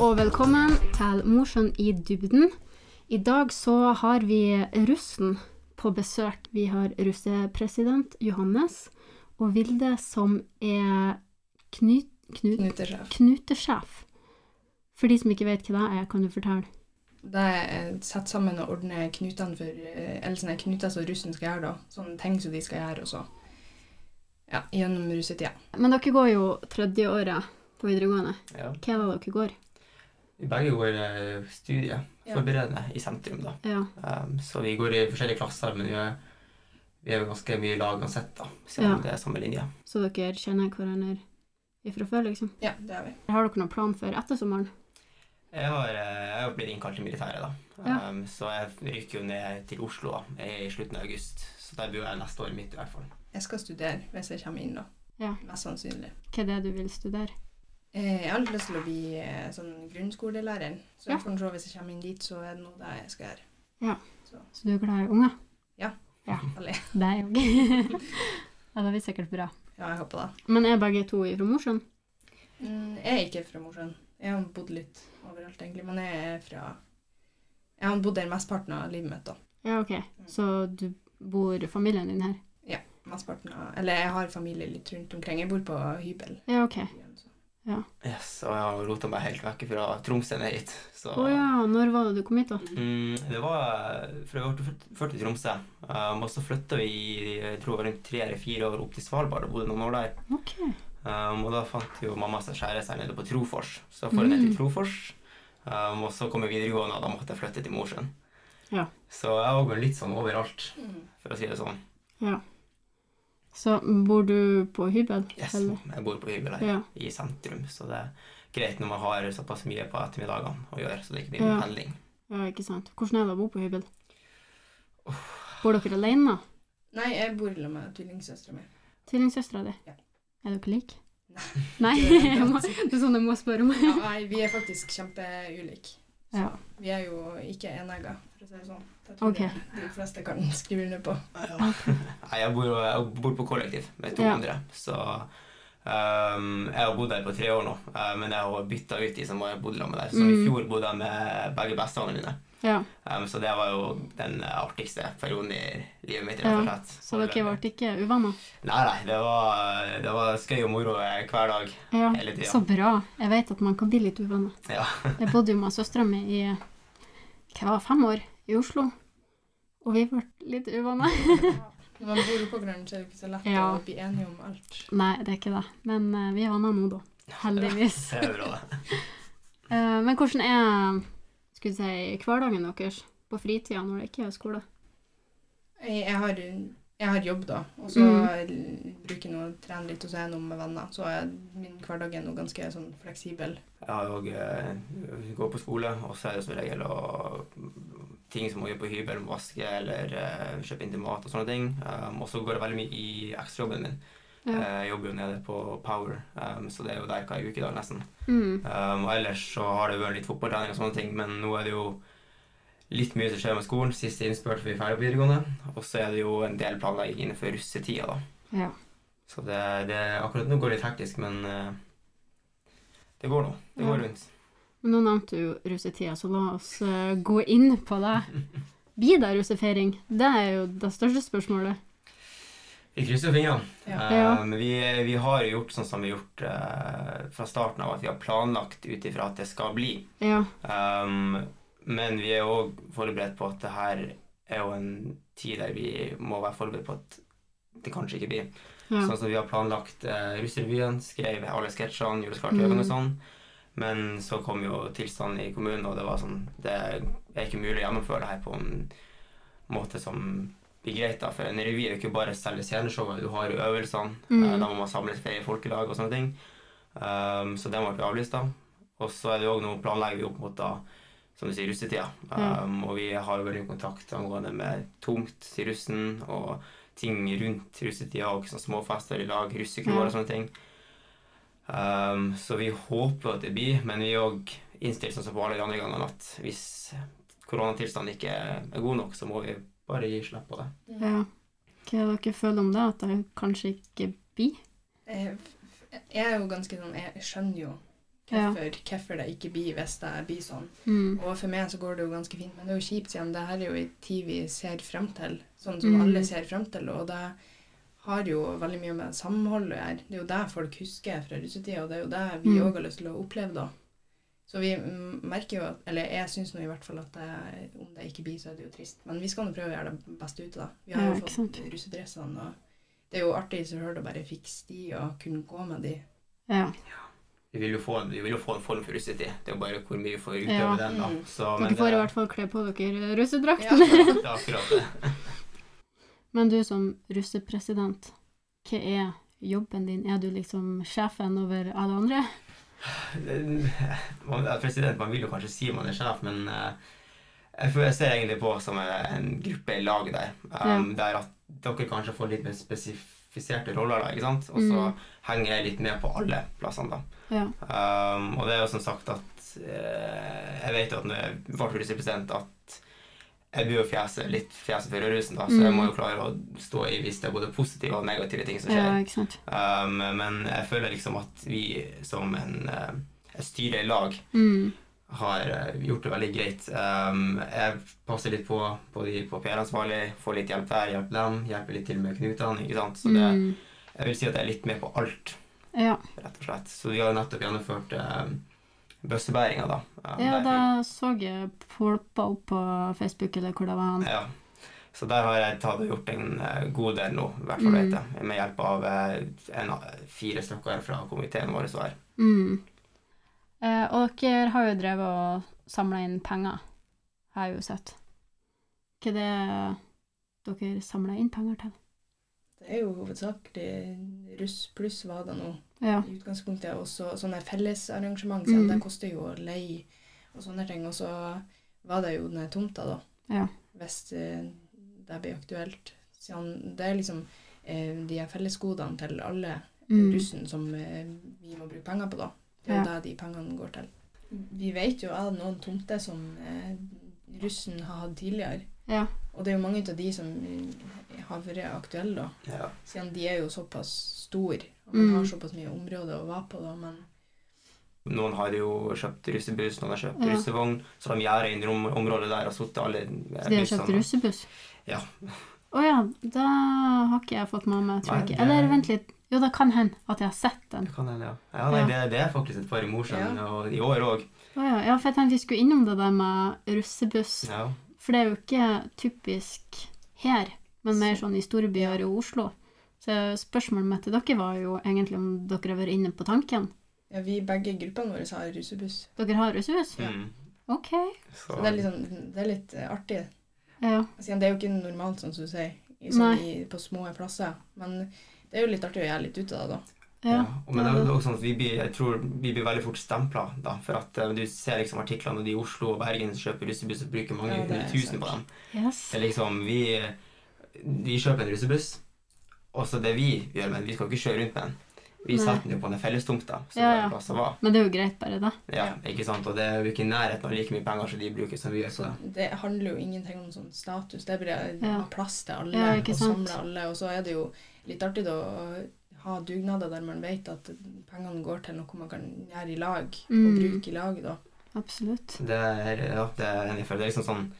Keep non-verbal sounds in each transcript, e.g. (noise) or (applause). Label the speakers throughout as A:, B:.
A: og velkommen til Mosjøen i dybden. I dag så har vi russen på besøk. Vi har russepresident Johannes og Vilde, som er knyt, knut,
B: Knutersjef.
A: knutesjef. For de som ikke vet hva det er, kan du fortelle?
B: Det er sette sammen og ordne knutene for eh, Eller sånne knuter som russen skal gjøre, da. Sånne ting som de skal gjøre, og så Ja, gjennom russetida.
A: Men dere går jo tredje året på videregående.
C: Ja.
A: Hva er det dere går?
C: Vi begge går eh, studie,
B: Ja.
C: forberedende, i sentrum, da.
A: Ja.
C: Um, så vi går i forskjellige klasser, men vi er, vi er jo ganske mye i lag uansett, da. Selv om
A: Ja.
C: det er samme linje.
A: Så dere kjenner hverandre ifra før, liksom?
B: Ja, det har vi.
A: Har dere noen plan for etter sommeren?
C: Jeg har, eh, jeg har blitt innkalt til militæret, da.
A: Ja.
C: Um, så jeg rykker jo ned til Oslo da, i slutten av august. Så der bor jeg neste år mitt, i hvert fall.
B: Jeg skal studere hvis jeg kommer inn, da.
A: Ja.
B: Mest sannsynlig.
A: Hva er det du vil studere?
B: Eh, Jeg har litt lyst til å bli eh, sånn grunnskolelærer, så
A: Ja.
B: jeg får se hvis jeg kommer inn dit, så er det noe det jeg skal gjøre.
A: Så du er glad i unger?
B: Ja.
A: ja.
B: Veldig.
A: Det er jo gøy. (laughs) ja, det blir sikkert bra.
B: Ja, jeg håper det.
A: Men er begge to fra Mosjøen?
B: Mm, Jeg er ikke fra Mosjøen. Jeg har bodd litt overalt, egentlig, men jeg er fra Jeg har bodd der mesteparten av livet mitt, da.
A: Ja, ok. Så du bor familien din her?
B: Mesteparten av Eller jeg har familie litt rundt omkring. Jeg bor på hybel.
A: Ja, ok.
B: i byen, så.
C: Yes, og jeg har rota meg helt vekk fra Tromsø ned hit. Så
A: Å ja, når var det du kom hit, da?
C: Mm, det var For jeg ble ført- ført til Tromsø, um, og så flytta vi i, jeg tror det var rundt tre eller fire år opp til Svalbard og bodde noen år der.
A: Ok.
C: Um, og da fant jo mamma seg kjæreste her nede på Trofors. Så jeg får jeg ned til
A: Mm.
C: Trofors. Um, og så kom jeg videregående, og da måtte jeg flytte til Mosjøen.
A: Ja.
C: Så jeg har gått litt sånn overalt, for å si det sånn.
A: Så bor du på hybel?
C: Yes,
A: eller?
C: jeg bor på hybel her
A: Ja.
C: i sentrum, så det er greit når man har såpass mye på ettermiddagene å gjøre, så det ikke blir
A: Ja.
C: mye pendling.
A: ja, ikke sant. Hvordan er det å bo på hybel? Bor dere alene, da?
B: Nei, jeg bor sammen med tvillingsøstera mi.
A: Tvillingsøstera di?
B: Ja.
A: Er dere like?
B: Nei.
A: Nei? (laughs) Jeg må- Det er sånn jeg må spørre om.
B: Ja, nei, vi er faktisk kjempeulike. Så
A: Ja.
B: Vi er jo ikke enegga, for å si det sånn. Det tror
A: Ok.
B: jeg de fleste kan skrive under på.
C: (laughs) Nei, jeg bor, jo- jeg bor på kollektiv med to
A: Ja.
C: andre, så um, jeg har bodd der på tre år nå, eh, men jeg har bytta ut de som har bodd sammen med der. Så i
A: Mm.
C: fjor bodde jeg med begge bestevennene mine.
A: Ja,
C: Um, så det var jo den eh, artigste perioden i livet mitt, rett og
A: Ja,
C: slett.
A: Så dere ble ikke uvenner?
C: Nei, nei, det var, det var skøy og moro eh, hver dag.
A: Ja.
C: Hele tida. (laughs)
A: Så bra. Jeg vet at man kan bli litt uvenner.
C: Ja.
A: (laughs) Jeg bodde jo med søstera mi i hva var det, fem år i Oslo. Og vi ble litt uvenner. (laughs)
B: Når man bor oppå hverandre, så er det ikke så lett
A: Ja.
B: å bli enige om alt.
A: Nei, det er ikke det. Men eh, vi er venner nå, da. Heldigvis.
C: Det er bra, det.
A: Eh, men hvordan er skulle jeg si, hverdagen deres på fritida når det ikke er skole?
B: Jeg, jeg, har, jeg har jobb, da, og så
A: Mm.
B: bruker jeg nå å trene litt, og så er jeg nå med venner. Så er min hverdag er nå ganske sånn fleksibel.
C: Jeg har jo eh, går på skole, og så er det som regel å, ting som å gjøre på hybel, vaske eller eh, kjøpe inn til mat og sånne ting. Um, og så går det veldig mye i ekstrajobben min.
A: Ja.
C: Eh, Jeg jobber jo nede på Power, um, så det er jo der hver uke i dag, nesten.
A: Mm.
C: Um, og ellers så har det vært litt fotballtrening og sånne ting, men nå er det jo litt mye som skjer med skolen. Siste innspurt vi er ferdig på videregående. Og så er det jo en del planlegging innenfor russetida, da.
A: Ja.
C: Så det, det akkurat nå går det litt hektisk, men eh, det går nå. Det går
A: Ja.
C: rundt.
A: Men nå nevnte du jo russetida, så la oss eh, gå inn på det. Blir det russefeiring? Det er jo det største spørsmålet.
C: Vi krysser fingrene.
B: Ja.
A: Ja.
C: Um, vi, vi har jo gjort sånn som vi har gjort eh, fra starten av, at vi har planlagt ut ifra at det skal bli.
A: Ja.
C: Um, men vi er òg forberedt på at det her er jo en tid der vi må være forberedt på at det kanskje ikke blir.
A: ja.
C: Sånn som vi har planlagt uh, Russerevyen, skrev alle sketsjene, gjorde oss klare
A: Mm.
C: til øving og sånn. Men så kom jo tilstanden i kommunen, og det var sånn Det er ikke mulig å gjennomføre det her på en måte som blir greit, da. For en revy er jo ikke bare selve sceneshowet, du har jo øvelsene.
A: Mm.
C: eh, Da må man samles flere folk i lag og sånne ting. Um, så den ble avlyst, da. Og så er det jo også noe planlegger vi opp mot da, som du sier, russetida.
A: Ja.
C: Um, og vi har jo veldig kontakt angående med tomt til russen og ting rundt russetida og sånne småfester i lag, russekroer og
A: Ja.
C: sånne ting. Um, så vi håper at det blir, men vi er òg innstilt sånn som på alle de andre gangene at hvis koronatilstanden ikke er god nok, så må vi bare gi slipp på det.
A: ja. Hva dere føler om det? At det kanskje ikke blir?
B: Jeg, jeg er jo ganske sånn Jeg skjønner jo
A: Ja.
B: Hvorfor hvorfor det ikke blir hvis det blir sånn.
A: Mm.
B: Og for meg så går det jo ganske fint, men det er jo kjipt siden det her er jo en tid vi ser frem til, sånn som
A: Mm.
B: alle ser frem til, og det har jo veldig mye med samhold å gjøre. Det er jo det folk husker fra russetida, og det er jo det vi
A: Mm.
B: òg har lyst til å oppleve da. Så vi mm, merker jo at Eller jeg syns nå i hvert fall at det, om det ikke blir, så er det jo trist. Men vi skal nå prøve å gjøre det beste ut av det. Vi har
A: Ja,
B: jo
A: ikke sant.
B: fått russedressene, og det er jo artig i seg sjøl å bare fikse de og kunne gå med de.
A: Ja.
C: Vi vil jo få, vi vil jo få en form for russetid. Det er jo bare hvor mye vi får utøve
A: Ja. Mm.
C: den, da. Så, eh,
A: Dere får i hvert fall kle på dere russedrakten.
B: Ja.
C: (laughs) det er akkurat det.
A: (laughs) Men du som russepresident, hva er jobben din? Er du liksom sjefen over alle andre?
C: Det- Eh, (laughs) man, ja, president, man vil jo kanskje si man er sjef, men eh, jeg, føler, jeg ser egentlig på oss som eh, en gruppe i lag der. Um, Der at dere kanskje får litt mer spesifiserte roller, da, ikke sant? og så
A: Mm.
C: henger jeg litt med på alle plassene. da.
A: Ja.
C: Um, og det er jo som sagt at eh, Jeg vet jo at når jeg ble russepresident, at jeg blir jo fjeset, litt fjeset for rødrusen, da, så jeg
A: Mm.
C: må jo klare å stå i hvis det er både positive og negative ting som skjer.
A: ja, ikke sant?
C: Um, men jeg føler liksom at vi som en, eh, et styre i lag
A: Mm.
C: har eh, gjort det veldig greit. Um, jeg passer litt på på de på PR-ansvarlig, får litt hjelp der, hjelper dem, hjelper litt til med knutene. ikke sant? Så det,
A: Mm.
C: jeg vil si at jeg er litt med på alt,
A: Ja,
C: rett og slett. Så vi har jo nettopp gjennomført um, bøssebæringa, da. Um,
A: ja
C: der-
A: da så jeg polpa opp på Facebook eller hvor det var han.
C: Ja. Så der har jeg tatt og gjort en eh, god del nå, i hvert fall
A: Mm.
C: vet jeg, med hjelp av eh, en, fire stykker fra komiteen vår. Så her.
A: Mm. Eh, og dere har jo drevet og samla inn penger, har jeg jo sett. Hva er det dere samla inn penger til?
B: Det er jo hovedsakelig russ pluss hva det nå
A: Ja.
B: i utgangspunktet også sånne fellesarrangement, siden
A: Mm.
B: det koster jo å leie og sånne ting. Og så var det jo denne tomta, da,
A: Ja.
B: hvis eh, det blir aktuelt. Siden det er liksom eh, de her fellesgodene til alle
A: Mm.
B: russen som eh, vi må bruke penger på, da. Det er jo det de pengene går til. Vi vet jo av noen tomter som eh, russen har hatt tidligere.
A: Mm. Ja.
B: Og det er jo mange av de som eh, har vært aktuelle, da.
C: Ja.
B: Siden de er jo såpass store, og man
A: Mm.
B: har såpass mye områder å være på, da, men
C: Noen har jo kjøpt russebuss, noen har kjøpt
A: Ja.
C: russevogn. Så de gjerder inn rom området der og satt alle eh,
A: Så de har kjøpt russebuss?
C: Ja.
A: Å ja, da har ikke jeg fått med meg, tror jeg
C: Nei,
A: ikke.
C: det-
A: Eller vent litt. Jo, det kan hende at jeg har sett den.
C: Det kan hende, ja. ja nei,
A: Ja.
C: Det, det er faktisk et par i Mosjøen, og i år òg.
A: Å ja. ja, for jeg tenkte vi skulle innom det der med russebuss.
C: Ja.
A: For det er jo ikke typisk her, men mer sånn i store byer og Oslo. Så spørsmålet mitt til dere var jo egentlig om dere har vært inne på tanken.
B: ja, vi begge gruppene våre har russebuss.
A: Dere har russebuss?
C: Mm.
A: Ok.
C: Så,
B: Så det er liksom, det er litt eh, artig.
A: Ja.
B: Siden det er jo ikke normalt, sånn som du sier, i,
A: Nei.
B: sånn, i, på små plasser. Men det er jo litt artig å gjøre litt ut av det, da.
C: ja.
A: ja.
C: Og Men det er jo også sånn at vi blir, jeg tror vi blir veldig fort stempla, da. For at eh, du ser liksom artiklene og de i Oslo og Bergen som kjøper russebuss og bruker mange
B: Ja, det er
C: hundre tusen
B: sant.
C: på dem.
A: Yes.
C: Det er liksom Vi, vi kjøper en russebuss, og så det vi gjør med den Vi skal jo ikke kjøre rundt med den. Vi
A: Nei.
C: setter den jo på den fellestomta som
A: Ja,
C: ja,
A: ja.
C: plasser var.
A: Men det er jo greit, bare det.
C: Ja, ikke sant? Og det er jo ikke i nærheten av like mye penger som de bruker som vi gjør. Så.
B: Det handler jo ingenting om sånn status. Det er bare å
A: Ja.
B: ha plass til alle
A: Ja, ikke
B: og
A: sant.
B: samle alle. Og så er det jo litt artig da å ha dugnader der man vet at pengene går til noe man kan gjøre i lag, og
A: Mm.
B: bruke i lag, da.
A: Absolutt.
C: Det er, ja, det er jeg enig for. Det er liksom sånn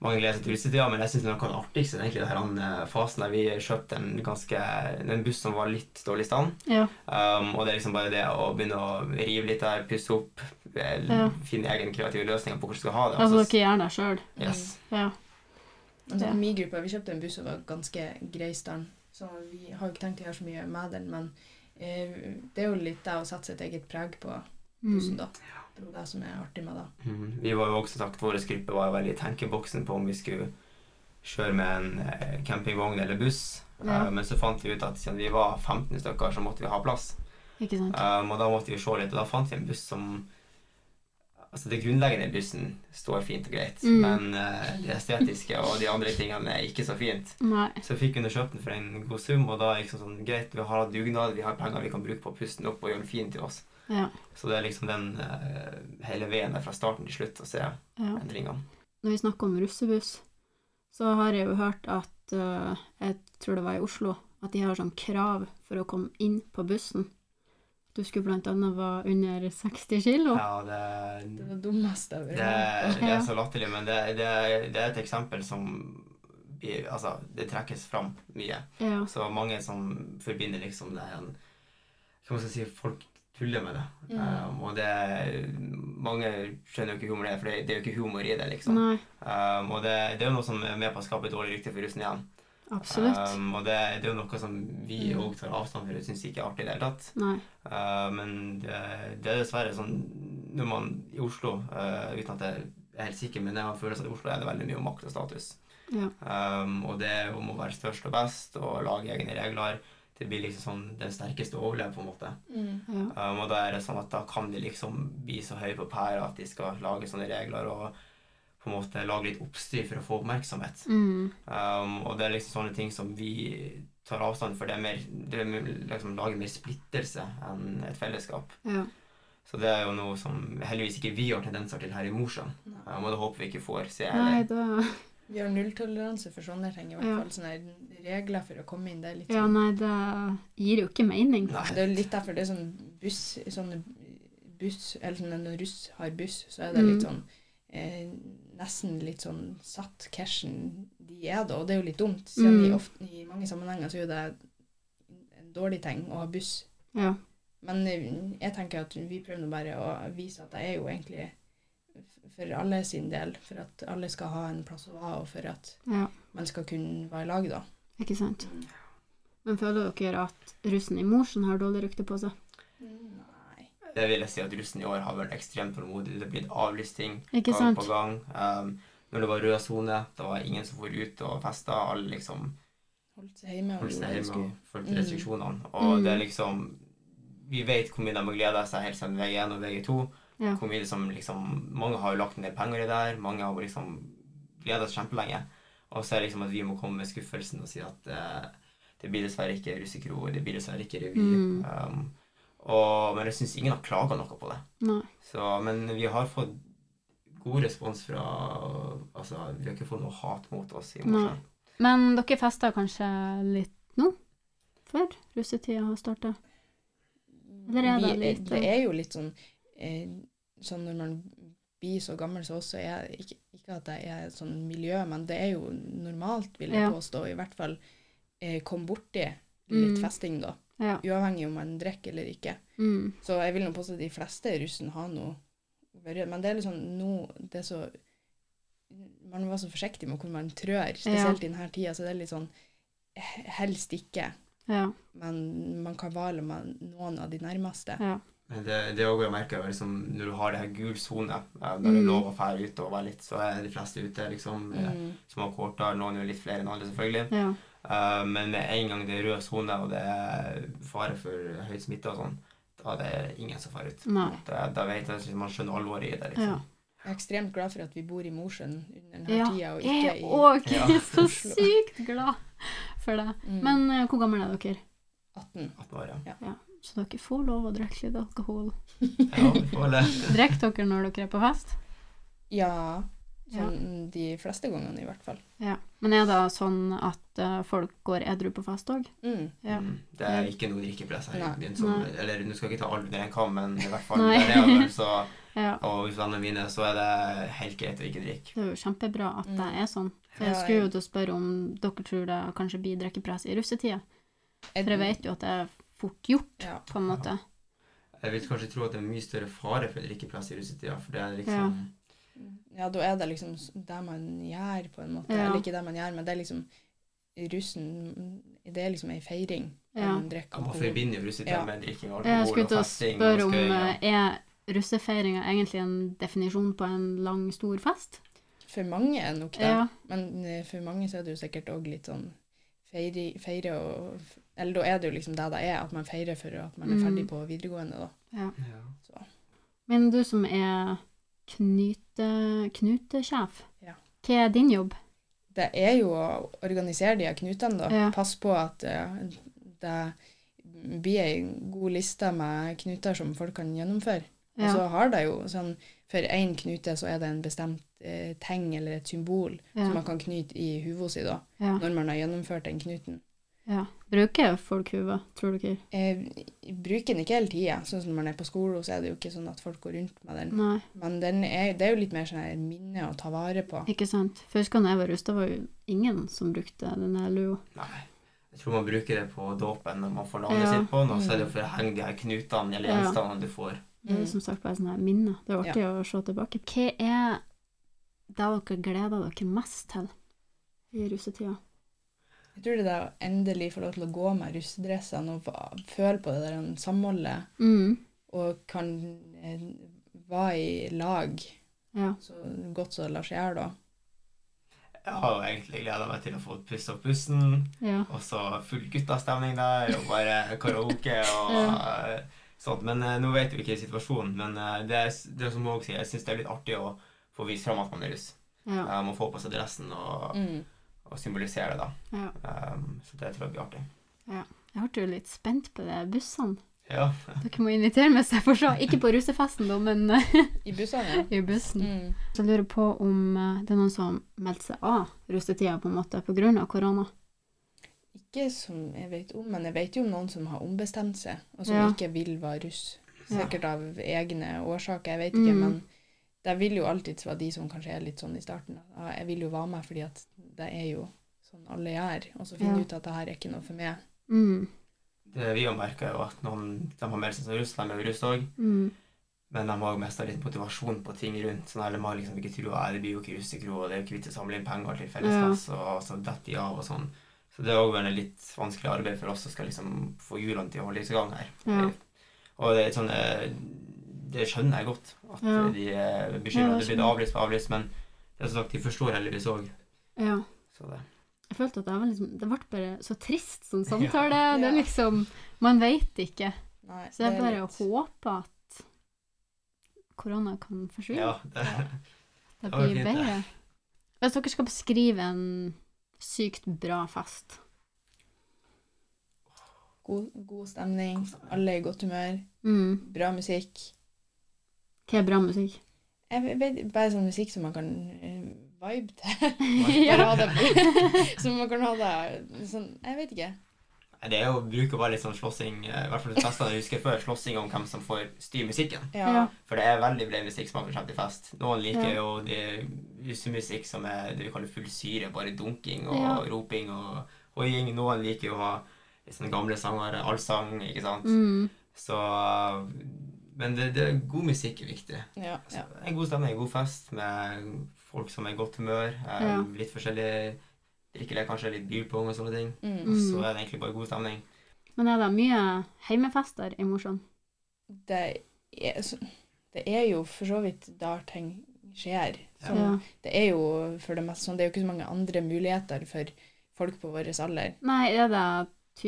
C: mange gleder seg til russetida, men jeg syns noe av det artigste er egentlig det her, den eh, fasen der vi kjøpte en ganske en buss som var litt dårlig i stand.
A: Ja.
C: Um, og det er liksom bare det å begynne å rive litt der, pusse opp, eh,
A: Ja.
C: finne egne kreative løsninger på hvor du skal ha det.
A: Altså,
C: altså,
A: dere gjør det sjøl.
C: yes.
A: Ja.
B: Men
A: Ja.
B: sånn, min gruppe, vi kjøpte en buss som var ganske grei stand, så vi har jo ikke tenkt å gjøre så mye med den, men eh, det er jo litt det å sette sitt eget preg på bussen,
A: Mm.
B: da. Det er jo det som er artig med det.
C: Mhm. Vi var jo også sagt, vår gruppe var jo veldig i tenkeboksen på om vi skulle kjøre med en eh, campingvogn eller buss.
A: Ja.
C: Eh, men så fant vi ut at siden vi var 15 stykker, så måtte vi ha plass.
A: Ikke sant.
C: Um, og da måtte vi se litt, og da fant vi en buss som Altså, det grunnleggende i bussen står fint og greit,
A: Mm.
C: men eh, det estetiske og de andre tingene er ikke så fint.
A: Nei.
C: Så fikk vi nå kjøpt den for en god sum, og da er det liksom sånn Greit, vi har dugnad, vi har penger vi kan bruke på å puste den opp og gjøre den fin til oss.
A: Ja.
C: Så det er liksom den eh, hele veien der fra starten til slutt å se
A: ja.
C: endringene.
A: når vi snakker om russebuss, så har jeg jo hørt at eh, Jeg tror det var i Oslo. At de har sånn krav for å komme inn på bussen. Du skulle blant annet være under 60 kilo.
C: Ja, det,
B: Det er det dummeste jeg
C: Det,
B: har
C: det er så latterlig, men det, det, det er et eksempel som i- Altså, det trekkes fram mye.
A: Ja.
C: Så mange som forbinder liksom det en Hva man skal si Folk tuller med det.
B: Mm.
C: Um, og det Mange skjønner jo ikke humor i det, for det, det er jo ikke humor i det, liksom.
A: Nei,
C: Um, og det, det er jo noe som er med på å skape et dårlig rykte for russen igjen.
A: absolutt.
C: Um, og det, det er jo noe som vi
B: Mm.
C: òg tar avstand fra og syns ikke er artig i det hele tatt.
A: Nei.
C: Eh, men det, det er dessverre sånn når man i Oslo, eh, uten at jeg er helt sikker, men jeg har følelsen at i Oslo er det veldig mye om makt og status.
A: Ja.
C: Um, og det er om å være størst og best og lage egne regler. Det blir liksom sånn den sterkeste overlever, på en måte.
B: Mm.
A: Ja.
C: Um, og da er det sånn at da kan de liksom bli så høye på pæra at de skal lage sånne regler og på en måte lage litt oppstyr for å få oppmerksomhet.
A: Mm.
C: Um, og det er liksom sånne ting som vi tar avstand for. Det er mer, det er mer- liksom lager mer splittelse enn et fellesskap.
A: Ja.
C: Så det er jo noe som heldigvis ikke vi har tendenser til her i Mosjøen.
B: Nei.
C: Um, og det håper vi ikke får se
A: Nei,
C: heller.
A: da
B: Vi har nulltoleranse for sånne ting. I hvert
A: Ja.
B: fall sånne her regler for å komme inn. Det er litt
A: Ja,
B: sånn,
A: nei, det gir jo ikke mening.
C: Nei.
B: det er litt derfor det er sånn buss sånne buss, eller sånn Når russ har buss, så er det
C: Mm.
B: litt sånn eh, Nesten litt sånn satt cashen de er, da. Og det er jo litt dumt. Siden
A: Mm.
B: i, ofte, I mange sammenhenger så er jo det en dårlig ting å ha buss.
A: Ja.
B: Men eh, jeg tenker at vi prøver nå bare å vise at jeg er jo egentlig f- for alle sin del, for at alle skal ha en plass å være, og for at
A: ja.
B: man skal kunne være i lag, da.
A: Ikke sant.
C: Mm.
A: Men føler dere at russen i Mosjøen har dårlig rykte på seg?
C: Mm.
B: Nei.
C: Det vil jeg si at russen i år har vært ekstremt tålmodig. Det er blitt avlyst ting
A: Ikke
C: gang
A: sant?
C: på gang. Um, når det var rød sone, det var ingen som for ut og festa. Alle liksom
B: Holdt seg hjemme. og
C: holdt seg
B: gjorde det
C: hjemme og fulgte
B: Mm.
C: restriksjonene. Og
A: Mm.
C: det er liksom Vi vet hvor mye de har gleda seg helt siden VG1 og VG2.
A: Ja.
C: Hvor mye som liksom Mange har jo lagt en del penger i det her. Mange har jo liksom gleda seg kjempelenge. Og så er det liksom at vi må komme med skuffelsen og si at eh, det blir dessverre ikke russekro, det blir dessverre ikke revy.
A: Mm.
C: Um, og, men jeg syns ingen har klaga noe på det.
A: Nei.
C: Så, men vi har fått god respons fra Altså, vi har ikke fått noe hat mot oss i
A: Nei.
C: Mosjøen.
A: Men dere fester kanskje litt nå? Før russetida har starta?
B: sånn.
A: Eller er det
B: Vi-
A: litt-
B: Det er jo litt sånn eh, Sånn når man blir så gammel som oss, så er jeg ikke, ikke at jeg er sånn miljø, men det er jo normalt, vil jeg
A: Ja.
B: påstå. I hvert fall eh, kom borti litt
A: Mm.
B: festing, da.
A: Ja.
B: Uavhengig om man drikker eller ikke.
A: Mm.
B: Så jeg vil nå påstå at de fleste russen har noe verre. Men det er liksom nå det er så Man var så forsiktig med hvor man trør, spesielt i denne tida, så det er litt sånn he- Helst ikke.
A: Ja.
B: Men man kan vale med noen av de nærmeste.
A: ja.
C: Men det, det er også jeg merker jo liksom, når du har det her gul sone, eh, når det er
A: Mm.
C: lov å fære ut og være litt, så er de fleste ute, liksom. eh,
B: Mm.
C: Som har korter, noen er jo litt flere enn alle, selvfølgelig.
A: ja.
C: Eh, men med en gang det er rød sone, og det er fare for høy smitte og sånn, da er det ingen som færer ut.
A: Nei.
C: Da, da vet jeg, man skjønner alvoret i det,
A: Ja.
C: liksom.
B: Jeg er ekstremt glad for at vi bor i Mosjøen under denne
A: Ja,
B: tida, og ikke
A: Jeg
B: i
A: òg
C: Ja.
A: er (laughs) så
B: Oslo.
A: sykt glad for det.
B: mm,
A: Men eh, hvor gamle er dere?
B: 18.
C: 18 år, ja.
A: Så dere får lov å drikke litt alkohol.
C: ja vi får det.
A: Drikker dere når dere er på fest?
B: Ja.
A: Ja.
B: Sånn de fleste gangene, i hvert fall.
A: Ja. Men er det sånn at eh, folk går edru på fest òg?
B: Mm.
A: Ja.
C: Mm, Det er ikke noe drikkepress her i
B: Nei.
C: byen. Som,
A: Nei.
C: eller du skal ikke ta all under en kam, men i hvert fall
A: Nei.
C: der jeg var, så,
A: (laughs) Ja.
C: og hos vennene mine, så er det helt greit å ikke drikke.
A: Det er jo kjempebra at det
B: Mm.
A: er sånn. For jeg
B: Ja,
A: skulle jo
B: jeg-
A: til å spørre om dere tror det kanskje blir drikkepress i russetida. For
B: Mm.
A: jeg vet jo at det er fort gjort,
B: Ja.
A: på en måte.
C: Jeg vil kanskje tro at det er mye større fare for drikkepress i russetida, for det er liksom
B: Ja, da er det liksom s- det man gjør, på en måte.
A: Ja.
B: Eller ikke det man gjør, men det er liksom Russen Det er liksom ei feiring. når
A: Ja.
B: Man drikker
C: ja, Man
B: alkohol.
C: forbinder jo russetida
B: Ja.
C: med drikking og
A: Jeg
C: alkohol
A: skulle
C: og
A: til å
C: festing og
A: spørre om
C: skøying. ja.
A: eh, er russefeiringa egentlig en definisjon på en lang, stor fest?
B: For mange er nok det,
A: Ja.
B: men eh, for mange så er det jo sikkert òg litt sånn feire, feire og f- Eller da er det jo liksom det det er, at man feirer for at man er
A: Mm.
B: ferdig på videregående, da.
C: Ja.
A: Men du som er knyte, knutesjef,
B: Ja.
A: hva er din jobb?
B: Det er jo å organisere de her knutene, da.
A: Ja.
B: Pass på at eh, det blir ei god liste med knuter som folk kan gjennomføre. Og så
A: Ja,
B: har det jo sånn For én knute så er det en bestemt eh, tegn eller et symbol som
A: ja,
B: man kan knyte i hodet sitt da,
A: ja,
B: når man har gjennomført den knuten.
A: Ja. Bruker folk huet, tror dere?
B: Jeg bruker den ikke hele tida. Sånn som når man er på skolen, så er det jo ikke sånn at folk går rundt med
C: Mm.
B: den.
A: Nei,
B: Men den er, det er jo litt mer sånn her minne å ta vare på.
A: ikke sant. For jeg husker da jeg var russ, det var jo ingen som brukte denne lua.
C: Nei. Jeg tror man bruker det på dåpen når man får navnet
A: Ja. Mm.
C: sitt på den, og så er det jo for å henge de her knutene eller
A: Ja.
C: gjenstandene du får.
A: Det er jo som sagt bare sånne her minner. Det er artig å se tilbake. Hva er det dere gleder dere mest til i russetida?
B: Jeg tror det der å endelig få lov til å gå med russedressene og fa- føle på det der samholdet,
A: Mm.
B: og kan eh, være i lag
A: Mm. Ja.
B: så godt som det lar seg gjøre, da.
C: Jeg har jo egentlig gleda meg til å få puste opp pusten,
A: ja.
C: og så full guttastemning der, og bare karaoke
A: (laughs)
C: og eh, sånt. Men eh, nå vet vi ikke situasjonen, men eh, det er, s- det er som Håg sier, jeg syns det er litt artig å få vist fram at man er russ.
A: ja.
C: Eh, Man får på seg dressen og,
B: Mm.
C: og symbolisere det, da.
A: Ja.
C: Um, så det tror jeg blir artig.
A: Jeg ble jo litt spent på det bussene.
C: Ja.
A: Dere må invitere meg, så jeg får se. Ikke på russefesten, da, men eh,
B: I bussene, ja.
A: i bussen.
B: Mm.
A: Så jeg lurer på om eh, det er noen som meldte seg av russetida på en måte på grunn av korona.
B: Ikke som jeg vet om, men jeg vet jo om noen som har ombestemt seg, og som
A: Ja.
B: ikke vil være russ.
A: Ja.
B: Sikkert av egne årsaker, jeg vet ikke,
A: Mm.
B: men det vil jo alltid være de som kanskje er litt sånn i starten. at, «Ah, Jeg vil jo være med fordi at det er jo sånn alle gjør, og så finner
A: Ja.
B: du ut at det her er ikke noe for meg.
A: Mm.
C: Det vi har merket er jo at noen de har meldt seg som russ, de er jo russ òg,
A: Mm.
C: men de har også mista litt motivasjon på ting rundt. sånn her, De har liksom ikke trua det blir jo ikke russekro, og det er jo ikke vits å samle inn penger til felleskasse, og så detter de av og sånn. Så det er òg et litt vanskelig arbeid for oss som skal liksom få hjulene til å holde i gang her.
A: Ja.
C: Og det er sånn eh, Det skjønner jeg godt, at
A: Ja.
C: de eh, beskylder
A: Ja,
C: at
A: det
C: det blir avlyst på avlyst, men det er som sagt, de forstår heldigvis òg.
A: ja.
C: Så det
A: Jeg følte at det, var liksom, det ble bare så trist
C: (laughs)
A: som samtale.
B: Ja.
A: Det er liksom Man veit ikke.
B: Nei,
A: Så jeg
B: det er
A: bare
B: litt-
A: håper at korona kan forsvinne.
C: Ja. Det,
A: det
C: det var
A: blir
C: fint, det.
A: bedre. Hvis dere skal beskrive en sykt bra fest
B: God, god stemning, alle er i godt humør,
A: mm.
B: bra musikk.
A: Hva er bra musikk?
B: Jeg vet, bare sånn musikk som man kan eh, vibe til. Bare
A: ja. (laughs)
B: ha det, (laughs) som man kan ha det sånn Jeg vet ikke.
C: Nei, (laughs) Det er jo bruker bare litt sånn slåssing, eh, i hvert fall de festene jeg husker før, slåssing om hvem som får styre musikken.
B: Ja.
A: Ja.
C: For det er veldig bred musikk som har kommet frem til fest. Noen liker
A: Ja.
C: jo de russemusikk som er det vi kaller full syre, bare dunking og
A: Ja.
C: roping og hoiing. Noen liker jo å ha sånne gamle sanger, allsang, ikke sant.
A: Mm.
C: Så Men det, det, god musikk er viktig.
B: Ja,
C: Så
B: ja.
C: En god stemning, en god fest med folk som er i godt humør, eh,
A: Ja.
C: litt forskjellig drikkelig, kanskje litt bilpong og sånne ting.
B: Mm.
C: Og
A: Mm.
C: så er det egentlig bare god stemning.
A: Men er det mye heimefester i Mosjøen?
B: Det, er, så- det er jo for så vidt der ting skjer.
C: Ja.
B: Som, Det er jo for det meste sånn. Det er jo ikke så mange andre muligheter for folk på vår alder.
A: Nei, er det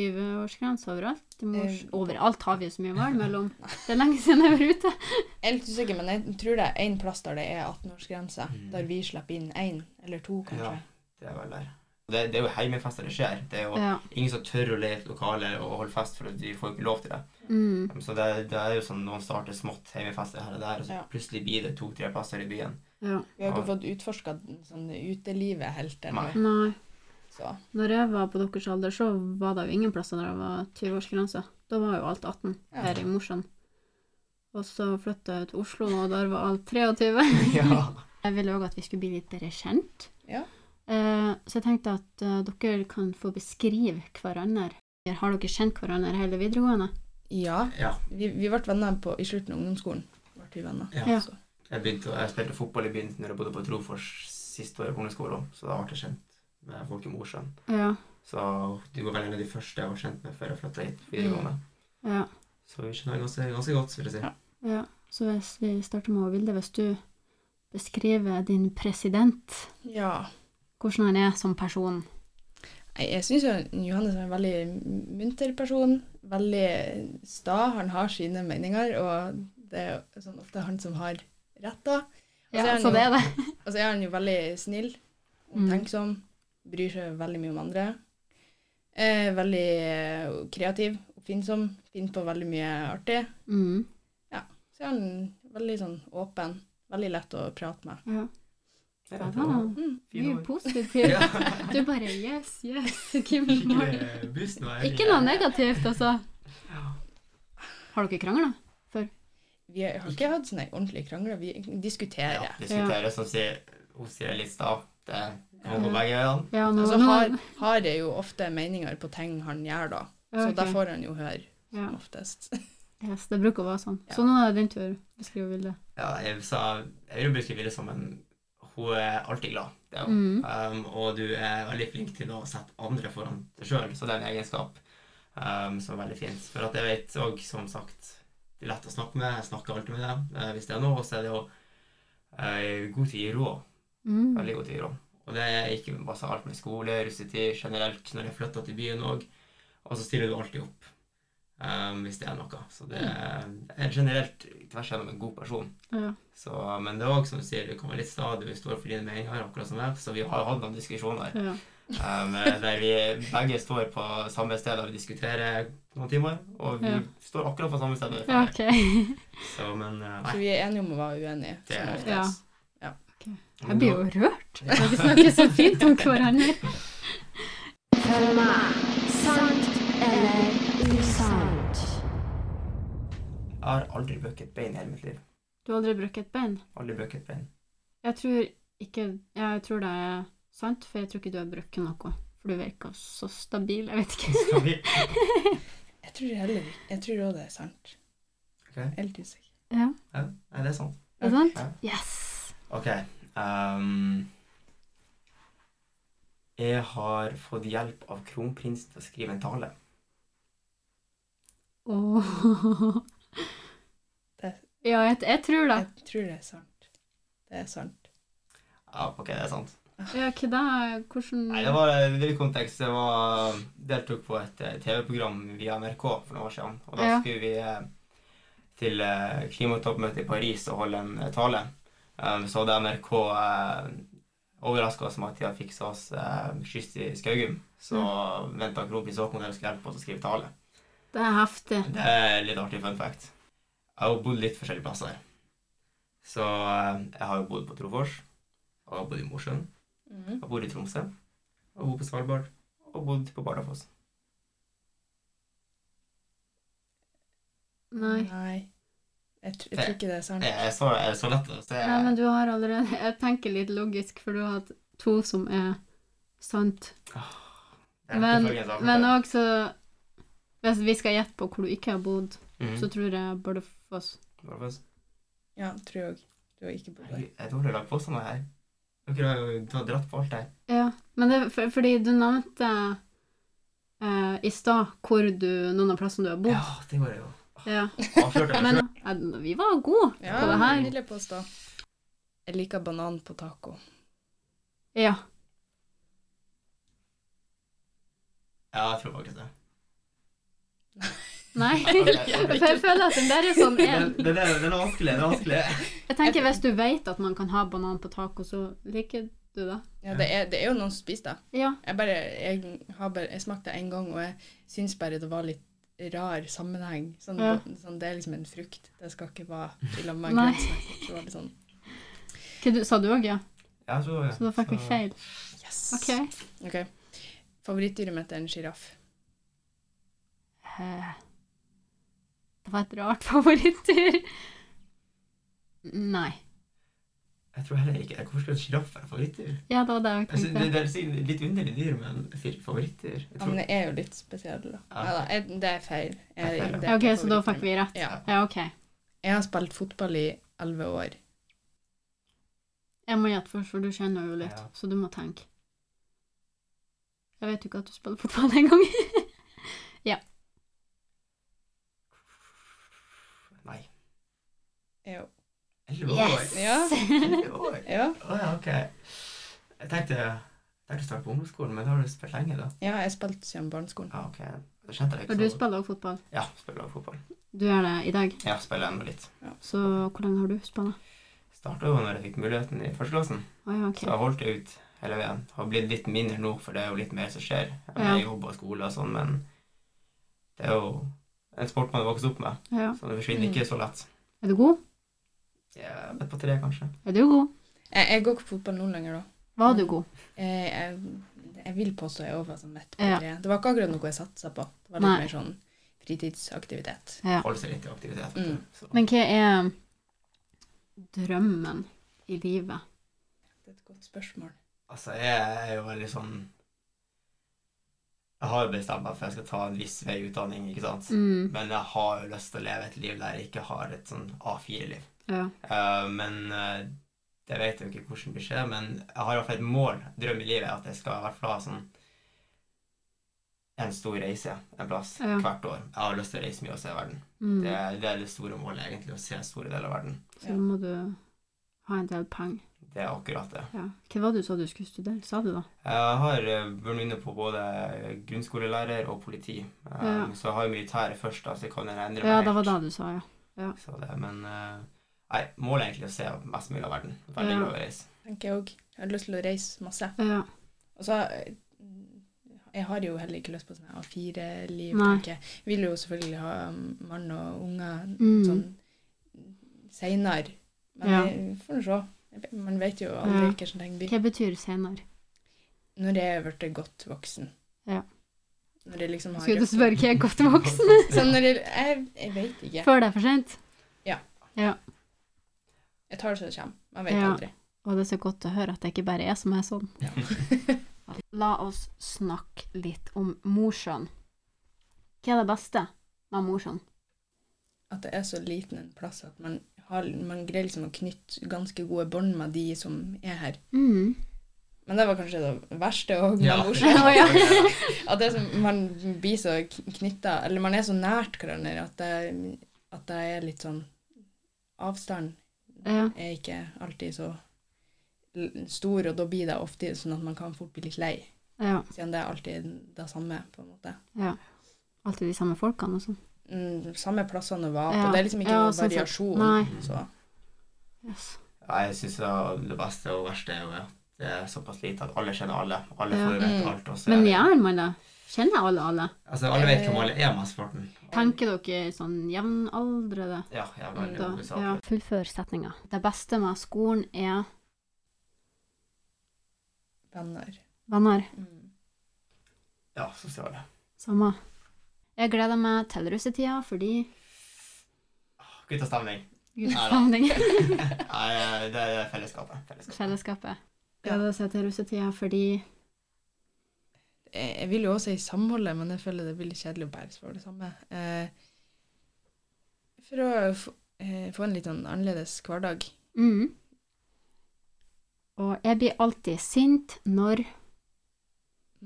A: 20-årsgrense overalt? I Mos
B: Eh.
A: overalt har vi jo så mye val mellom. Det er lenge siden jeg har vært ute.
B: Jeg er litt usikker, men jeg tror det er én plass der det er 18-årsgrense.
C: Mm.
B: Der vi slipper inn én eller to, kanskje.
C: Ja. Det er vel der. Det, det er jo heimefester det skjer. Det er jo
A: Ja.
C: ingen som tør å leie et lokale og holde fest, for de får jo ikke lov til det.
A: Mm.
C: Så det, det er jo sånn noen starter smått heimefester her og der, og så
B: Ja.
C: plutselig blir det to-tre plasser i byen.
A: ja.
B: Vi har ikke
C: Ja.
B: fått utforska sånn, utelivet helt ennå.
C: Nei.
A: Nei.
B: Så
A: Når jeg var på deres alder, så var det jo ingen plasser der det var 20-årsgrense. Da var jo alt 18
B: Ja.
A: her i Mosjøen. Og så flytta jeg til Oslo, og der var alt 23.
C: (laughs) ja.
A: Jeg ville òg at vi skulle bli litt bedre kjent.
B: Ja.
A: Eh, så jeg tenkte at eh, dere kan få beskrive hverandre. Har dere kjent hverandre hele videregående?
B: ja.
C: ja.
B: Vi, vi ble venner på, i slutten av ungdomsskolen. Ble vi venner.
C: Ja.
A: Ja.
B: Så.
C: Jeg, begynte, å- jeg spilte fotball i begynnelsen når jeg bodde på Trofors siste året på ungdomsskolen, så da ble jeg kjent med folk i Mosjøen.
A: Ja.
C: Så du var vel en av de første jeg var kjent med før jeg flytta hit videregående.
A: ja.
C: Så vi kjenner ganske, ganske godt, vil jeg si.
B: Ja.
A: ja. Så hvis vi starter med Vilde, hvis du beskriver din president,
B: ja.
A: hvordan han er som person
B: Nei, Jeg syns Johannes er en veldig munter person. Veldig sta. Han har sine meninger, og det er jo sånn ofte han som har rett, da. Og så er
A: Ja,
B: han
A: så
B: jo-
A: det er det.
B: Og så er han jo veldig snill, omtenksom, bryr seg veldig mye om andre. Eh, veldig eh, kreativ, oppfinnsom, finner på veldig mye artig.
A: Mm.
B: Så er han veldig sånn åpen, veldig lett å prate med.
A: Ja.
C: Ja,
A: Ah, mye
B: Mm.
C: Fine ord.
A: positivt.
C: Ja.
A: (laughs) Du bare yes, yes, Kim Morten.
C: Skikkelig boost nå.
A: Ikke noe negativt, altså. Har dere krangla?
B: Vi har ikke hatt sånne ordentlige krangler. Vi diskuterer.
C: Ja, diskuterer, som sier, hun sier litt stavt. Det kan gå begge veiene.
A: Ja, nå,
B: Altså,
A: nå,
B: har, har jeg jo ofte meninger på ting han gjør, da. Så
A: Ok.
B: da får han jo høre,
A: ja.
B: som oftest.
A: yes, det bruker å være sånn.
B: Ja.
A: Så nå er det din tur. Beskriv Vilde.
C: Ja, jeg, sa, jeg vil beskrive det som en Hun er alltid glad. Det er hun.
A: Mm.
C: Um, og du er veldig flink til å sette andre foran deg sjøl, så det er en egenskap um, som er veldig fint. For at jeg vet òg, som sagt, det er lett å snakke med. Jeg snakker alltid med dem eh, hvis det er noe. Og så er det jo eh, god til å gi råd.
A: Mm.
C: Veldig god til å gi råd. Og det er ikke bare alt med skole, russetid, generelt når jeg flytter til byen òg. Og så stiller du alltid opp um, hvis det er noe. Så det
A: Mm.
C: er, er generelt tvers igjennom en god person.
A: Ja.
C: Så, men det er også som du sier, du kommer litt stadig, du står for dine meninger, akkurat som jeg, så vi har hatt noen diskusjoner
A: Ja.
C: um, der vi begge står på samme sted og vi diskuterer noen timer, og vi
A: Ja.
C: står akkurat på samme sted. når vi er
A: ja,
C: ferdig.
A: OK.
C: Så, men uh,
B: Så
C: nei.
B: (laughs) vi er enige om å være uenige,
C: Det
B: som
C: er-
B: oftest.
A: Jeg blir jo rørt. Dere snakker så fint om hverandre.
D: Følg meg. Sant eller usant?
C: Jeg har aldri bøket bein i hele mitt liv.
A: Du har aldri brukt et bein?
C: Aldri bøket bein. (laughs)
A: Jeg tror ikke Jeg tror det er sant, for jeg tror ikke du har brukt noe. For du virker så stabil. Jeg vet ikke.
C: Så vi,
B: Jeg tror heller Jeg tror også det er sant.
C: Ok.
B: Jeg er Helt usikker.
A: (laughs) Ja,
C: ja, nei, det er sant.
A: er det sant?
C: Ja.
A: Yes!
C: Ok. Um, jeg har fått hjelp av kronprinsen til å skrive en tale.
A: Åh.
B: Det-
A: Ja, jeg, jeg tror det.
B: Jeg tror det er sant. Det er sant.
C: Ja, ok, det er sant.
A: Ja, hva da? Hvordan
C: Nei, det var en vill kontekst. Jeg var, deltok på et eh, TV-program via NRK for noen år siden. Og da
A: Ja.
C: skulle vi eh, til eh, klimatoppmøtet i Paris og holde en eh, tale. Um, så hadde NRK eh, overraska oss med at de hadde fiksa oss eh, skyss i Skaugum. Så ventet venta kronprins Haakon der og skulle hjelpe oss å skrive tale.
A: Det er heftig.
C: Det er litt artig fun fact. Jeg har jo bodd litt forskjellige plasser. Så eh, jeg har jo bodd på Trofors. Og jeg har bodd i Mosjøen. Jeg bor i Tromsø. Og bor på Svalbard. Og bodd på Bardufoss.
A: Nei.
B: Nei. Jeg, tr jeg tror ikke det er sant.
C: Jeg er så, jeg er så lett å se.
A: Nei, men du har allerede Jeg tenker litt logisk, for du har hatt to som er sant.
C: Det er
A: Men,
C: selvfølgelig en sammenheng.
A: men også Hvis vi skal gjette på hvor du ikke har bodd,
C: Mhm.
A: så tror jeg Bardufoss.
C: Bardufoss.
B: Ja, tror jeg òg. Du har ikke bodd der.
C: Jeg tror det er lagt påstander her. Dere har jo tatt dratt på alt her.
A: Ja, men det, for, fordi du nevnte eh, i stad hvor du, noen av plassene du har bodd.
C: Ja, det går jo.
A: Ja.
C: Avslørte jeg
A: (laughs) Men
C: meg selv.
A: eh, vi var gode.
B: Ja,
A: På det her.
B: vil jeg påstå. Jeg liker banan på taco.
A: Ja.
C: Ja, jeg tror faktisk det.
A: Nei.
C: Ok,
A: (laughs) For jeg føler at den der er sånn
C: Det,
A: en
C: det, det, det er vanskelig. Det
A: (laughs)
C: er vanskelig.
A: Jeg tenker hvis du vet at man kan ha banan på taco, så liker du det.
B: Ja, det er, det er jo noen som spiser det.
A: Ja.
B: Jeg bare, jeg, har bare, jeg smakte det en gang, og jeg syns bare det var litt rar sammenheng. Sånn,
A: Ja.
B: sånn, det er liksom en frukt. Det skal ikke være i lag med en
A: Nei.
B: grønnsak. Det var litt sånn,
A: Hva du, sa du òg, ja?
C: Ja, jeg tror det.
A: Så da fikk vi feil.
B: yes.
A: OK.
B: Ok. Favorittdyret mitt er en sjiraff.
A: Eh, Det var et rart (laughs) favorittdyr. Nei.
C: Jeg tror heller ikke Hvorfor skulle en sjiraff være favorittdyr?
A: Ja, det var det jeg
C: Jeg synes, Altså, det,
A: tenkte.
C: det er sikkert litt underlig dyr, men favorittdyr Jeg
B: Ja,
C: tror
B: men det er jo litt spesiell, da.
C: Ja.
B: Ja, da. Jeg, det er feil. Jeg,
C: Det er feil, ja.
B: det er
A: Ja, OK,
B: ikke
A: så da
B: favorittdyret
A: fikk vi
B: mitt.
A: rett.
B: Ja.
A: Ja, OK.
B: Jeg har spilt fotball i elleve år.
A: Jeg må gjette først, for du kjenner jo litt,
C: Ja.
A: så du må tenke. Jeg vet jo ikke at du spiller fotball engang.
C: (laughs) Nei.
B: Jo.
C: Elleve år.
B: Ja.
C: Elleve år.
B: Ja.
C: Å ja, ok. Jeg tenkte jeg tenkte å starte på ungdomsskolen, men da har du spilt lenge, da.
B: ja, jeg spilte siden barneskolen.
C: Ja, ok. Da kjente jeg
A: (laughs) For
C: deg
A: du
C: ikke så godt.
A: spiller også fotball.
C: Ja, spiller også fotball.
A: Du gjør det i dag,
C: Ja, spiller ennå litt.
A: så hvor lenge har du spilt?
C: Starta jo når jeg fikk muligheten i førsteklassen,
A: Å ja, ok.
C: så jeg holdt det ut hele veien. Har blitt litt mindre nå, for det er jo litt mer som skjer med
A: Ja.
C: jobb og skole og sånn, men det er jo en sport man har vokst opp med,
A: Ja.
C: så det forsvinner
B: Mm.
C: ikke så lett.
A: Er du god?
C: Ja, Midt på tre, kanskje.
A: Er du god?
B: Jeg, jeg går ikke på fotball noen lenger, da.
A: Var du god?
B: Eh, Jeg, jeg vil påstå jeg var sånn midt på
A: Ja.
B: treet. Det var ikke akkurat noe jeg satsa på. Det var
A: Nei.
B: litt mer sånn fritidsaktivitet.
A: Ja.
C: Holde seg litt i aktivitet.
B: Mm.
C: Så.
A: Men hva er drømmen i livet?
B: Det er et godt spørsmål.
C: Altså, jeg er jo veldig sånn Jeg har jo bestemt meg for at jeg skal ta en viss vei i utdanning, ikke sant.
A: Mm,
C: Men jeg har jo lyst til å leve et liv der jeg ikke har et sånn A4-liv.
A: ja.
C: Eh, men eh, det vet jeg jo ikke hvordan blir skje, men jeg har i hvert fall et mål, drøm i livet, at jeg skal i hvert fall ha sånn en stor reise en plass
A: Ja.
C: hvert år. Jeg har lyst til å reise mye og se verden.
A: Mm.
C: Det, det er det store målet, egentlig, å se store deler av verden.
A: Så da må du ha en del penger.
C: Det er akkurat det.
A: Ja. Hva var det du sa du skulle studere? Sa du da?
C: Jeg har eh, vært inne på både grunnskolelærer og politi. Eh,
A: Ja.
C: Så jeg har jo militæret først, da, så jeg kan jo endre
A: Ja,
C: meg
A: det var
C: helt.
A: det du sa, ja.
C: Så det, men eh, nei, målet er egentlig å se mest mulig av verden. Veldig
A: Ja.
C: glad i å reise.
B: Tenker Jeg òg. Jeg har lyst til å reise masse.
A: ja.
B: Og så eh, Jeg har jo heller ikke lyst på sånn A4-liv,
A: Nei.
B: tenker jeg. Jeg Vil jo selvfølgelig ha um, mann og unger
A: Mm.
B: sånn seinere. Men
A: Ja.
B: vi får nå se. Jeg vet- Man vet jo aldri
A: Ja.
B: hva som ting blir.
A: Hva betyr senere?
B: Når jeg er blitt godt voksen.
A: Ja.
B: Når jeg liksom har
A: Skulle du
B: røkket-
A: spørre hva jeg er godt
C: (laughs)
A: voksen?
B: Så Liksom Sånn når jeg, jeg, jeg vet ikke.
A: Før det er for sent?
B: Jeg tar det som det kommer. Man vet
A: Ja.
B: aldri. (laughs)
A: Og det er så godt å høre at det ikke bare er jeg som er sånn. La oss snakke litt om Mosjøen. Hva er det beste med Mosjøen?
B: At det er så liten en plass at man, har, man greier liksom å knytte ganske gode bånd med de som er her.
A: Mm.
B: Men det var kanskje det verste og det
C: Ja.
B: morsomme.
A: Å, (laughs) ja.
B: At det er som, man blir så knytta Eller man er så nært hverandre at det, at det er litt sånn Avstand
A: Ja.
B: er ikke alltid så l- stor, og da blir det ofte sånn at man kan fort bli litt lei.
A: ja.
B: Siden det er alltid det samme, på en måte.
A: ja. Alltid de samme folkene og sånn.
B: Mm, samme plassene å være på.
A: Ja.
B: Det er liksom ikke
A: Ja,
B: noe
A: sånn sett.
B: variasjon.
A: Nei.
B: Så
A: Yes.
C: Ja, jeg syns det beste og verste er jo at det er såpass lite at alle kjenner alle. Alle
A: Ja.
C: får vite
B: Mm.
C: alt. og så er
A: Men
C: det-
A: gjør man det? Kjenner alle alle?
C: Altså, alle vet
B: Eh.
C: hvem alle er med sporten.
A: Tenker dere sånn jevnaldrende?
C: Ja, jeg er veldig
A: Da,
C: god i saken.
A: ja. Fullfør setninga. Det beste med skolen er
B: venner.
A: venner.
B: Mm.
C: Ja, sosiale.
A: Samme. Jeg gleder meg til russetida fordi (laughs)
C: Guttastemning.
A: Gudsamling.
C: Nei, eh, det er fellesskapet. fellesskapet.
A: Fellesskapet. Jeg gleder meg til russetida fordi
B: Jeg jeg vil jo også si samholdet, men jeg føler det blir litt kjedelig å bare svare det samme. Eh, for å få, eh, få en litt sånn annerledes hverdag.
A: mm. Og jeg blir alltid sint når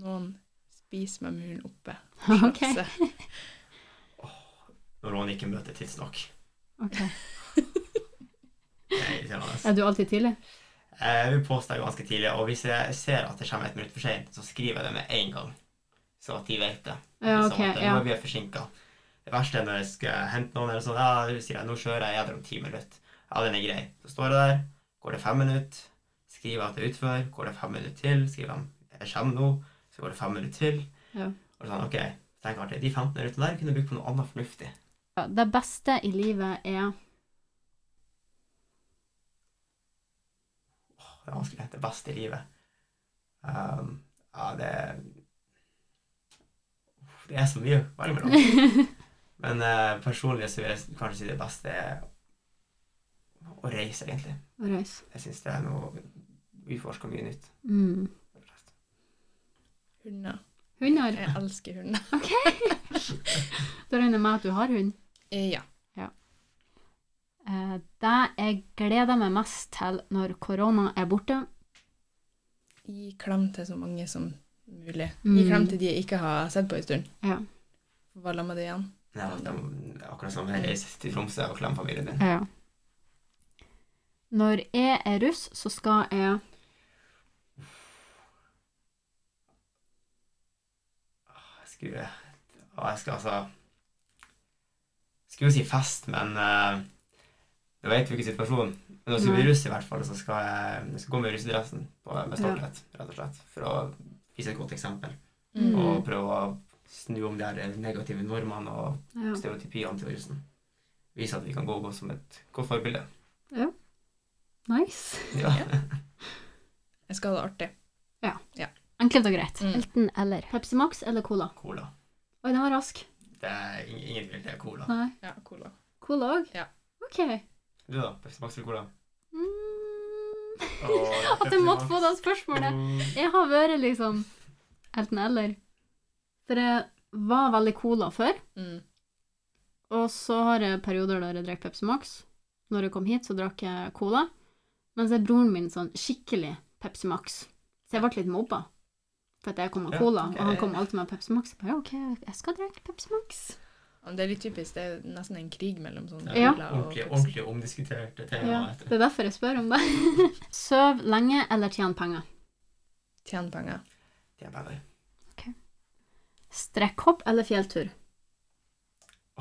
B: Noen spiser med muren oppe.
A: (laughs) Ok.
B: Slafse.
C: Når noen ikke møter tidsnok.
A: Ok.
C: Det er irriterende.
A: Er du alltid tidlig?
C: Jeg vil påstå jeg er ganske tidlig, og hvis jeg ser at det kommer et minutt for sent, så skriver jeg det med en gang, så at de vet det.
A: Ja,
C: Liksom
A: ok.
C: at,
A: Ja.
C: Nå er vi forsinket. Det verste er når jeg skal hente noen, eller sånn, ja, du sier jeg, nå kjører jeg, jeg er der om ti minutter. Ja, den er grei. Så står jeg der, går det fem minutter, skriver at jeg er utfor, går det fem minutter til, skriver jeg, jeg kommer nå, så går det fem minutter til.
A: Ja.
C: Og sånn, ok, tenk artig, de 15 minuttene der kunne jeg brukt på noe annet fornuftig.
A: Ja, Det beste i livet er
C: Åh, det er vanskelig, det beste i livet. Ehm, ja, det Uff, Det er så mye, veldig bra. Men eh, personlig så vil jeg kanskje si det beste er å reise, egentlig.
A: å reise.
C: Jeg syns det er noe vi utforsker mye nytt.
A: Mm.
B: Hunder.
A: Hunder.
B: Jeg elsker hunder.
A: Da regner jeg med at du har hund.
B: Eh, ja.
A: Eh, Det jeg gleder meg mest til når korona er borte
B: Gi klem til så mange som mulig. Gi
A: Mm.
B: klem til de jeg ikke har sett på en stund.
A: Ja.
B: Hva la med det igjen?
C: Ja, det er akkurat som å reise til Tromsø og klemme familien din.
A: Ja. Når jeg er russ, så skal jeg
C: Jeg skulle ja, Jeg skal altså Skulle jo si fest, men eh, Nå vet vi ikke situasjonen. Men når vi
A: Nei.
C: blir russ, i hvert fall, så skal jeg, jeg skal gå med russedressen på- med stolthet, rett og slett. For å vise et godt eksempel.
A: Mm.
C: Og prøve å snu om de her eh, negative normene og
A: ja.
C: stereotypiene til russen. Vise at vi kan gå godt som et godt forbilde.
A: Nice.
C: Ja. (laughs)
B: Jeg skal ha det artig.
A: Enkelt og greit.
B: Mm.
D: Enten eller.
A: Pepsi Max eller Cola?
C: Cola.
A: Oi, den var rask.
C: Det er ing- ingen tvil, det er cola.
A: Nei.
B: Ja, cola.
A: Cola òg?
B: Ja.
A: OK.
C: Du da? Pepsi Max eller cola?
A: Mm.
C: Åh,
A: (laughs) At jeg måtte få det spørsmålet. Jeg har vært liksom enten eller. For jeg var veldig cola før,
B: Mm.
A: og så har jeg perioder der jeg drakk Pepsi Max. Når jeg kom hit, så drakk jeg cola. Mens jeg broren min sånn skikkelig Pepsi Max. Så jeg ble litt mobba. For at jeg kom med
C: Ja,
A: cola,
C: ok.
A: og han kom alltid med Pepsi Max. Jeg bare, ok, jeg skal drikke Pepsi Max.
B: Ja, men Det er litt typisk. Det er nesten en krig mellom sånne
A: Ja.
B: cola og
C: Ordentlig,
B: Pepsi.
C: ordentlig omdiskutert tema.
A: Ja,
C: etter.
A: det er derfor jeg spør om det. Søv lenge eller tjen penger?
B: Tjene penger.
C: Det er bare
A: Strekkhopp eller fjelltur?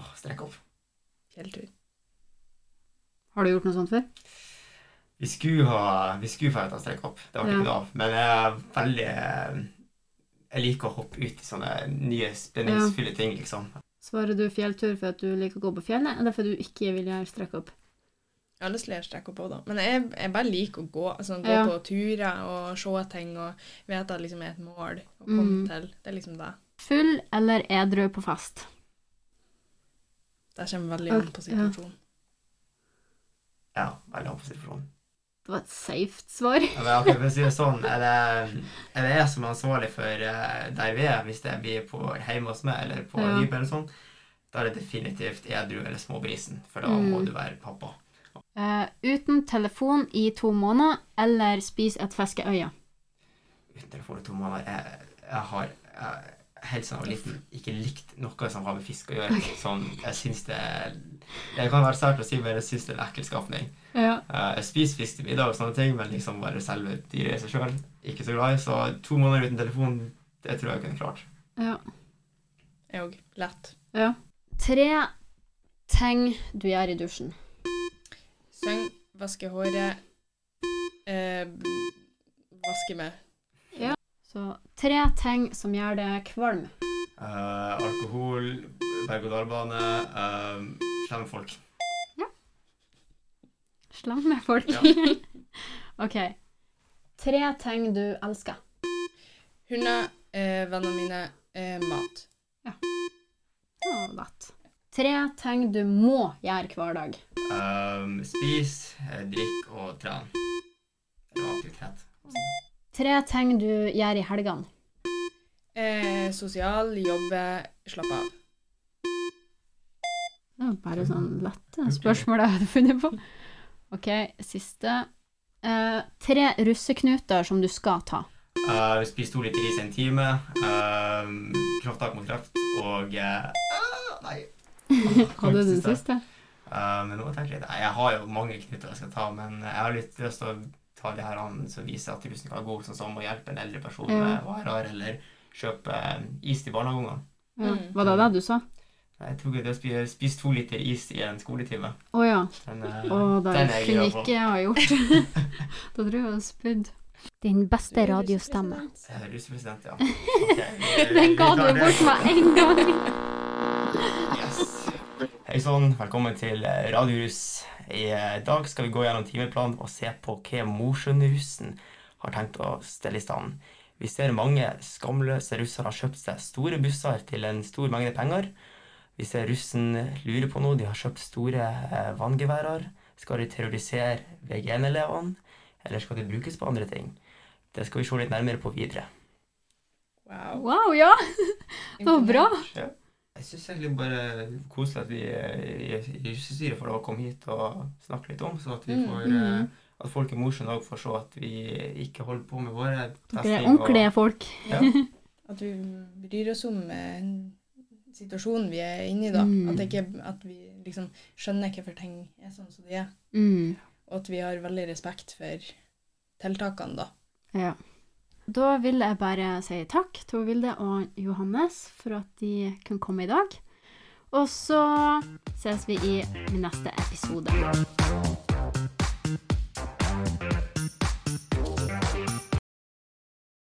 C: Åh, strekk opp.
B: Fjelltur.
A: Har du gjort noe sånt før?
C: Vi skulle ha Vi skulle få ta strekk opp. Det var
A: Ja.
C: ikke noe av. Men jeg er veldig eh, Jeg liker å hoppe ut i sånne nye, spenningsfulle ting, liksom.
A: Svarer du fjelltur for at du liker å gå på fjellet, eller fordi du ikke vil gjøre strekkhopp?
B: Jeg har lyst til å gjøre strekker på, da. Men jeg, jeg bare liker å gå. Altså, gå
A: Ja.
B: på turer og se ting og vite at det liksom er et mål å
A: Mm.
B: komme til. Det er liksom det.
A: Full eller edru på fest?
B: Det kommer veldig an
A: Ok,
B: på
A: ja.
B: situasjonen.
C: Ja, veldig an på situasjonen.
A: Det var et safe svar.
C: Ja, Men ok, for å si det sånn, er det, er det jeg som er ansvarlig for eh, der vi er, hvis det blir på hjemme hos meg eller på
A: Ja.
C: hybel eller sånn, da er det definitivt edru eller småbrisen, for da må
A: Mm.
C: du være pappa.
A: Eh, uten telefon i to måneder, eller spis et fiskeøye?
C: Uten telefon i to måneder Jeg, jeg har jeg, helt siden jeg var liten ikke likt noe som har med fisk å gjøre. Som jeg syns det er Jeg kan være sært å si, men jeg syns det er en ekkel skapning.
A: Ja.
C: Eh, Jeg spiser fisk til middag og sånne ting, men liksom bare selve dyret i seg sjøl ikke så glad i. Så to måneder uten telefon, det tror jeg jeg kunne klart.
A: ja.
B: Jeg òg. Lett.
A: Tre ting du gjør i dusjen.
B: Syng, vaske håret, eh, vaske meg.
A: Så tre ting som gjør deg kvalm.
C: Eh, alkohol, berg-og-dal-bane, uh, slemme folk.
A: Slem med folk.
C: Ja.
A: (laughs) OK. Tre ting du elsker.
B: Hunder, eh, vennene mine, eh, mat.
A: Det var lett. Tre ting du må gjøre hver dag.
C: Eh, spis, eh, drikk og tren. Eller aktivitet.
A: Tre ting du gjør i helgene.
B: Eh, sosial, jobbe, slappe av.
A: Det var bare sånn lette
C: Ok.
A: spørsmål jeg hadde funnet på. OK, siste. Eh, tre russeknuter som du skal (laughs) ta.
C: Eh, spis to liter is i en time. eh, krafttak mot kreft og eh, ah, Nei.
A: Hadde du den siste?
C: Eh, men nå tenker jeg litt. Nei, Jeg har jo mange knuter jeg skal ta, men jeg har litt lyst til å ta de her an som viser at russen kan gå, sånn som å hjelpe en eldre person
A: Ja.
C: med varer, eller kjøpe eh, is til barnehageungene.
A: Ja.
B: Mm.
A: Var det det du sa?
C: Jeg tok det å spi- spise to liter is i en skoletime.
A: Å ja.
C: Den, eh,
A: Å, det
C: den er jeg
A: kunne
C: gira på.
A: ikke jeg ha gjort. (laughs) da tror jeg jeg hadde spydd.
D: Din beste radiostemme.
C: Eh, Russepresident, ja. Ok, vi-
A: (laughs) Den ga du
C: vi tar det.
A: bort med en gang.
C: Yes. Hei sann, velkommen til eh, Radiorus. I eh, dag skal vi gå gjennom timeplanen og se på hva Mosjøen-russen har tenkt å stelle i stand. Vi ser mange skamløse russere har kjøpt seg store busser til en stor mengde penger. Vi ser russen lurer på noe. De har kjøpt store eh, vanngeværer. Skal de terrorisere VG1-elevene, eller skal de brukes på andre ting? Det skal vi se litt nærmere på videre.
B: Wow.
A: Wow, ja. Det var bra.
C: Jeg syns egentlig bare koselig at vi eh, i i russestyret får lov å komme hit og snakke litt om, så at vi
B: Mm,
C: får
A: mm.
C: eh, At folk i Mosjøen òg får se at vi ikke holder på med våre
A: Dere er ordentlige folk.
C: Ja.
B: At vi bryr oss om eh, situasjonen vi er inne i, da.
A: Mm.
B: At, det ikke, at vi liksom skjønner hvorfor ting er sånn som de er.
A: Mm.
B: Og at vi har veldig respekt for tiltakene, da.
A: Ja. Da vil jeg bare si takk til Vilde og Johannes for at de kunne komme i dag. Og så ses vi i min neste episode.